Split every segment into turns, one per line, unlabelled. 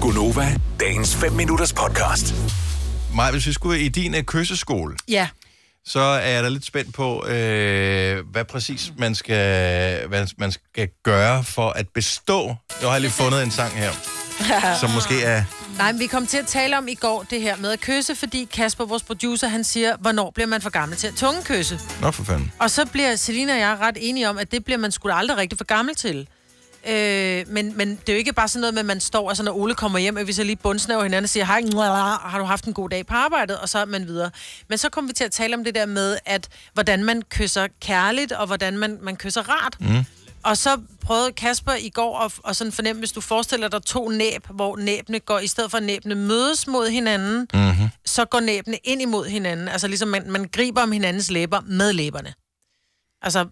Gunova, dagens 5 minutters podcast.
Maja, hvis vi skulle i din øh, kysseskole,
Ja.
så er jeg da lidt spændt på, øh, hvad præcis man skal, hvad man skal gøre for at bestå. Nu har jeg lige fundet en sang her, som måske er...
Nej, men vi kom til at tale om i går det her med at kysse, fordi Kasper, vores producer, han siger, hvornår bliver man for gammel til at tungekysse?
Nå for fanden.
Og så bliver Selina og jeg ret enige om, at det bliver man sgu da aldrig rigtig for gammel til. Øh, men, men det er jo ikke bare sådan noget med, at man står, og så når Ole kommer hjem, at vi så lige bundsnæver hinanden og siger, hej, mwah, har du haft en god dag på arbejdet, og så er man videre. Men så kom vi til at tale om det der med, at hvordan man kysser kærligt, og hvordan man, man kysser rart. Mm. Og så prøvede Kasper i går at, at sådan fornemme, hvis du forestiller dig to næb, hvor næbene går, i stedet for at næbene mødes mod hinanden, mm-hmm. så går næbene ind imod hinanden. Altså ligesom man, man griber om hinandens læber med læberne. Altså,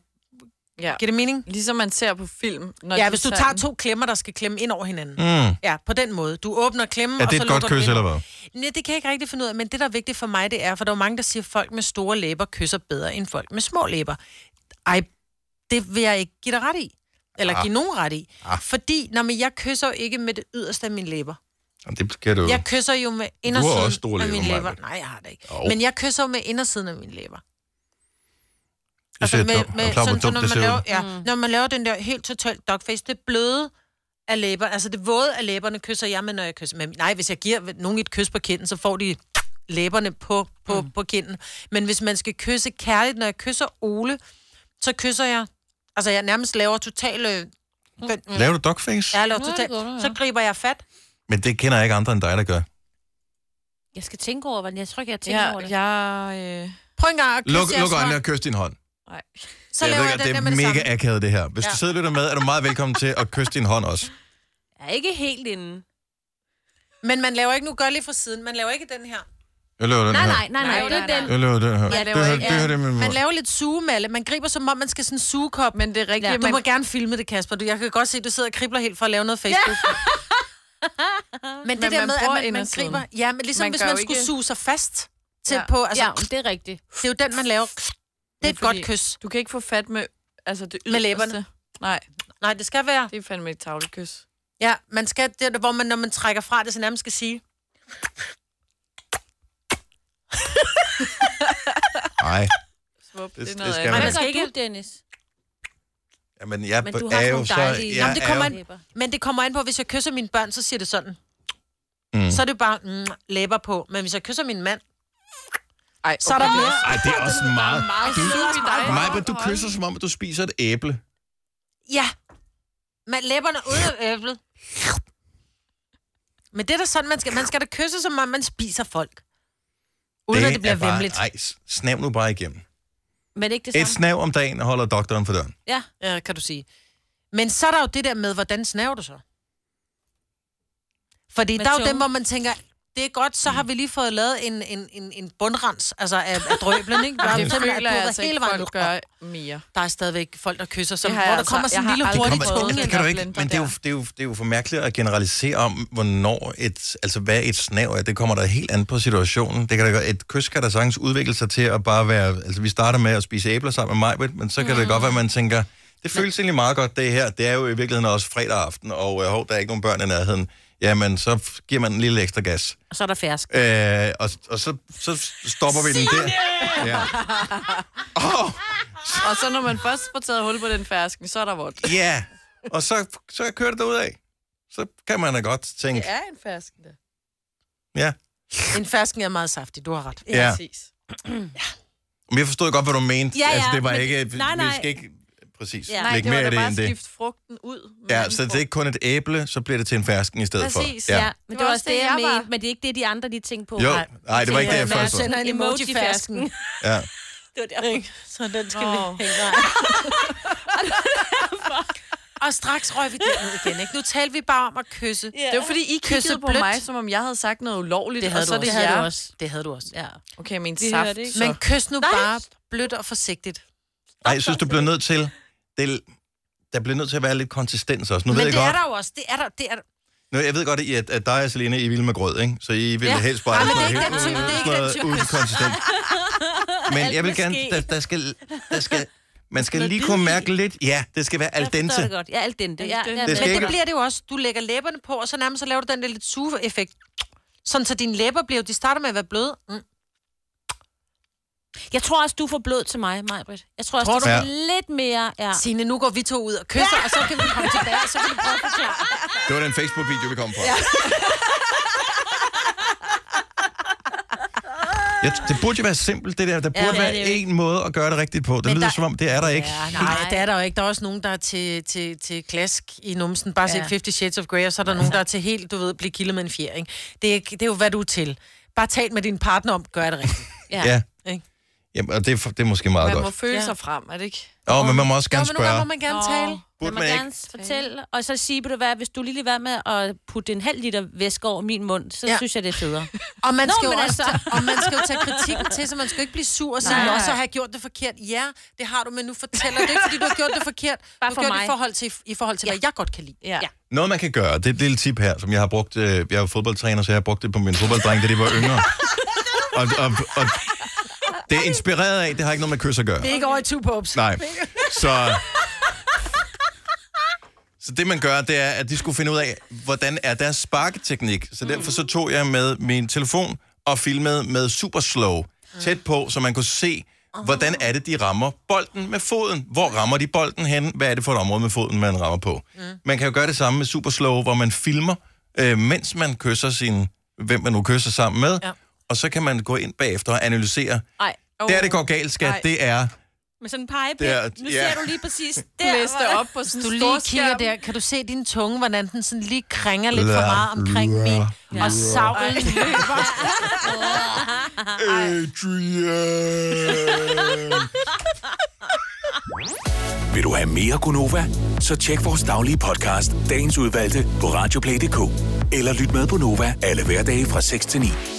Ja.
giver det mening?
Ligesom man ser på film. Når
Ja,
de
hvis du
sådan-
tager to klemmer, der skal klemme ind over hinanden.
Mm.
Ja, på den måde. Du åbner klemmen,
Er
og
det
så
et godt
lukker du
kys,
den.
eller hvad?
Nej, det kan jeg ikke rigtig finde ud af, men det, der er vigtigt for mig, det er, for der er jo mange, der siger, at folk med store læber kysser bedre end folk med små læber. Ej, det vil jeg ikke give dig ret i. Eller
Ah.
give nogen ret i.
Ah.
Fordi, når men jeg kysser jo ikke med det yderste af mine læber.
Jamen, det skal du
Jeg kysser jo med
Du har
indersiden
også store
af
læber,
mine læber.
Maja.
Nej, jeg har det ikke.
Jo.
Men jeg kysser jo med indersiden af mine læber.
Jeg ser dum. Jeg er klar, hvor
altså sådan, så
dumt
når
det
man
ser
laver,
ud.
ja, når man laver den der helt totalt dogface, det bløde af læber, altså det våde af læberne kysser jeg med, når jeg kysser med. Nej, hvis jeg giver nogen et kys på kinden, så får de læberne på, på, mm. på kinden. Men hvis man skal kysse kærligt, når jeg kysser Ole, så kysser jeg, altså jeg nærmest laver total, øh,
Laver du dogface?
jeg laver
Mm. Nå, det
total,
gør du, ja.
så griber jeg fat.
Men det kender jeg ikke andre end dig, der gør.
Jeg skal tænke over, hvordan jeg tror ikke, jeg tænker over det.
Ja, jeg... Øh...
Prøv en gang at kysse
Luk,
jeres
luk øjnene
hånd.
og kys din hånd.
Nej.
Så
jeg
laver
ved
jeg
godt,
den der
det
med det
er
samme.
mega akavet, det her. Hvis du
Ja.
sidder og lytter med, er du meget velkommen til at kysse din hånd også.
Jeg er ikke helt inde.
Men man laver ikke, nu gør lige fra siden, man laver ikke den her.
Jeg laver den
Nej,
her.
nej, Altså, nej, nej.
Nej,
Det
nej,
er den.
nej.
Jeg laver den her. Det
Jeg laver
her,
ikke-
det her, det er min
Man
mund.
laver lidt sugemalle. Man griber som om, man skal sådan suge kop.
Men det er rigtigt,
Ja,
ja,
du
man...
må gerne filme det, Kasper. Du, jeg kan godt se, at du sidder og kribler helt for at lave noget Facebook. Ja. men det
Men
der
man
med, at
bruger
man, man
indersiden.
griber... Ja, men ligesom
Man
man hvis
gør
man
jo
skulle
ikke-
suge sig fast til ja.
Ja.
på... Altså,
Ja,
ja.
det er rigtigt.
Det er jo den, man laver. Det er
Men
et godt
fordi-
kys.
Du kan ikke få fat med altså, det
Med læberne.
yderste. Nej,
Nej, det skal være...
det er fandme et tavlekys.
Ja, man skal... Det er, der, hvor man, når man trækker fra det, så nærmest skal sige...
Nej.
Svup,
Det-
det, det, er
det
noget
skal
andet.
man
Hvad
man
skal
gør
ikke-
du, Dennis?
Jamen, jeg
Men du har
er
sådan
jo
nogle
så...
dejlige...
jeg
Nå, men det kommer
er
an-
jo-
Men det kommer an på, hvis jeg kysser mine børn, så siger det sådan.
Mm.
Mm. Så er det bare mm, læber på. Men hvis jeg kysser min mand,
Ej,
så er der mere.
Ej, det er også meget...
meget
Du-
sødt i dig.
Maja, men du kysser, som om at du spiser et æble.
Ja. Man læberne ud af æblet. Men det er da sådan, man skal, man skal da kysse, som om man spiser folk. Uden det at det bliver
er bare-
vemmeligt.
Ej, s- snav nu bare igennem.
Men ikke det
Et
samme.
snav om dagen holder doktoren for døren.
Ja.
Ja, øh, kan du sige. Men så er der jo det der med, hvordan snaver du så? Fordi
Med
der er jo
tungen.
dem, hvor man tænker, det er godt, så har vi lige fået lavet en, en, en, en bundrens, altså af, af drøblen, ikke? Bare
Det
sådan, at
føler jeg
du
altså
hele
ikke,
vejen
folk
ud.
gør mere.
Der er stadigvæk folk, der kysser, som,
Det
hvor
har jeg
der
altså-
kommer sådan
jeg
en lille
har aldrig
hurtig
Kom,
prøvet tunge
det
tunge.
ind
kan du
og
ikke,
blender
men det er, jo, det, er jo, det er jo for mærkeligt at generalisere om, hvornår et, altså hvad et snav er. Det kommer der helt an på situationen. Det kan da, godt- et kys kan da sagtens udvikle sig til at bare være, altså vi starter med at spise æbler sammen med mig, men så kan
Mm.
det godt være, at man tænker, det føles egentlig meget godt det her. Det er jo i virkeligheden også fredag aften, og øh, hov, der er ikke nogen børn i nærheden. Jamen, så f- giver man en lille ekstra gas.
Og så er der fersk.
Øh, og, og så, så stopper vi den der. Ja. Oh,
Og så når man først får taget hul på den fersken, så er der vort.
ja. Og så, så kører det derudad. Så kan man da godt tænke,
Det er en fersken, der.
ja.
En fersken er meget saftig, du har ret.
Ja.
Præcis.
Men jeg forstod godt, hvad du mente.
Ja, ja,
altså, det var
men-
ikke...
nej, nej.
Vi skal ikke præcis
Ja.
ja.
Nej,
lægge
det
mere
var da
af det
bare
end det.
skifte frugten ud. med
Ja,
anden
så det er
frugt.
ikke kun et æble, så bliver det til en fersken i stedet
Præcis,
for.
Ja, men det var også det, jeg
var.
mente. Men det er ikke det, de andre, de tænkte på.
Jo,
Nej.
nej, det var ikke det, jeg
Men jeg
først så.
sender en emoji-fersken.
Emoji-fersken.
Ja.
Det var derfor.
Så den skal
Nå.
vi hænge af. Og straks røg vi den ud igen, ikke? Nu talte vi bare om at kysse.
Det var fordi, I
Kysset
kiggede på
blødt.
mig, som om jeg havde sagt noget ulovligt,
Det havde,
og så
du,
er det
også.
jer.
Det havde du også.
Ja.
Okay, men
Vi
saft.
hørte ikke.
så.
Men kys nu Nej. bare blødt og forsigtigt.
Ej, jeg synes, du bliver nødt til... Det, der bliver nødt til at være lidt konsistens også. Nu
Men
ved
det
jeg godt,
er der jo også. Det er der. Det er der.
nu, jeg ved godt, at, I, at, at dig og Selina, I vil med grød, ikke? Så I vil ja.
Ja.
helst bare
Ej, men
sådan
det er
noget
ikke den type- det er
helt
ikke den
noget
type.
uden konsistent. Men
Alt
jeg vil
kan
gerne,
ske.
der, der, skal, der skal Man skal
noget
lige
bid
kunne
i.
mærke lidt. Ja, det skal være al
Jeg forstår det
dente.
godt. Ja, al dente. Ja,
dente. Det
ja, men
skal
Men
ikke-
det bliver det jo også. Du lægger læberne på, og så nærmest så laver du den der lidt suge-effekt. Sådan så dine læber bliver, de starter med at være bløde. Mm.
Jeg tror også, du får blod til mig, Majbrit. Jeg tror også,
Tror
du
du?
får lidt mere... Ja.
Signe, nu går vi to ud og kysser, og så kan vi komme tilbage, og så kan du prøve at forklare.
Det var den Facebook-video, vi kom fra. Ja, det burde jo være simpelt, det der. Der burde
det
ja,
er
være
det jo
én måde at gøre det rigtigt på. Det
Men
lyder
der-
som om, det er der ikke.
Ja,
Nej,
nej.
det er der jo ikke. Der er også nogen, der er til, til, til klask i numsen. Bare ja.
Ja.
se 50 Shades of Grey, og så er der nogen, der er til helt, du ved, blive kildet med en fjer, ikke? Det er, ikke- det er jo, hvad du er til. Bare tal med din partner om, gør jeg det rigtigt.
Ja.
Ikke?
Jamen, og det, er for- det er måske meget
Man må
godt.
føle
Ja.
sig frem, er det ikke?
Åh, oh, men man må også
Jo,
gerne
men nogle gange
spørge.
må man gerne
Nå.
tale.
Jeg
Burde
må
man ikke?
gerne fortælle, og så sige, vil du hvad, hvis du lige vil være med at putte en halv liter væske over min mund, så ja.
Ja.
synes jeg, det er federe.
Og man,
Nå,
skal
men
jo også,
altså-
tage- og man skal jo tage kritikken til, så man skal jo ikke blive sur og sige,
Nej.
at så har jeg gjort det forkert. Ja, det har du, men nu fortæller det ikke, fordi du har gjort det forkert.
Bare
du
for
har gjort det
mig.
i forhold til, i forhold til hvad jeg godt kan lide.
Ja. ja.
Noget, man kan gøre, det er et lille tip her, som jeg har brugt. Øh, jeg er jo fodboldtræner, så jeg har brugt det på mine fodbolddrenge, da de var yngre. Og, og, og, det er inspireret af, det har ikke noget med kys at gøre.
Det er ikke over i two pops.
Nej. Så... Så det, man gør, det er, at de skulle finde ud af, hvordan er deres sparketeknik. Så derfor så tog jeg med min telefon og filmede med super slow tæt på, så man kunne se, hvordan er det, de rammer bolden med foden. Hvor rammer de bolden hen? Hvad er det for et område med foden, man rammer på? Man kan jo gøre det samme med super slow, hvor man filmer, øh, mens man kysser sin, hvem man nu kysser sammen med.
Ja.
Og så kan man gå ind bagefter og analysere.
Nej.
Oh, der, det går galt, skat,
Ej.
det er
Med sådan en pegepind.
Der,
Nu
ja.
ser du lige præcis der.
Læste
hvor-
op på sådan
Du
en
lige
stor
kigger
skærm.
der, kan du se din tunge, hvordan den sådan lige kringer lidt for meget omkring
Ja.
min, og savlen løber.
Adrian.
Vil du have mere Gunova? Så tjek vores daglige podcast, dagens udvalgte, på radioplay.dk. Eller lyt med på Nova alle hverdage fra 6 til 9.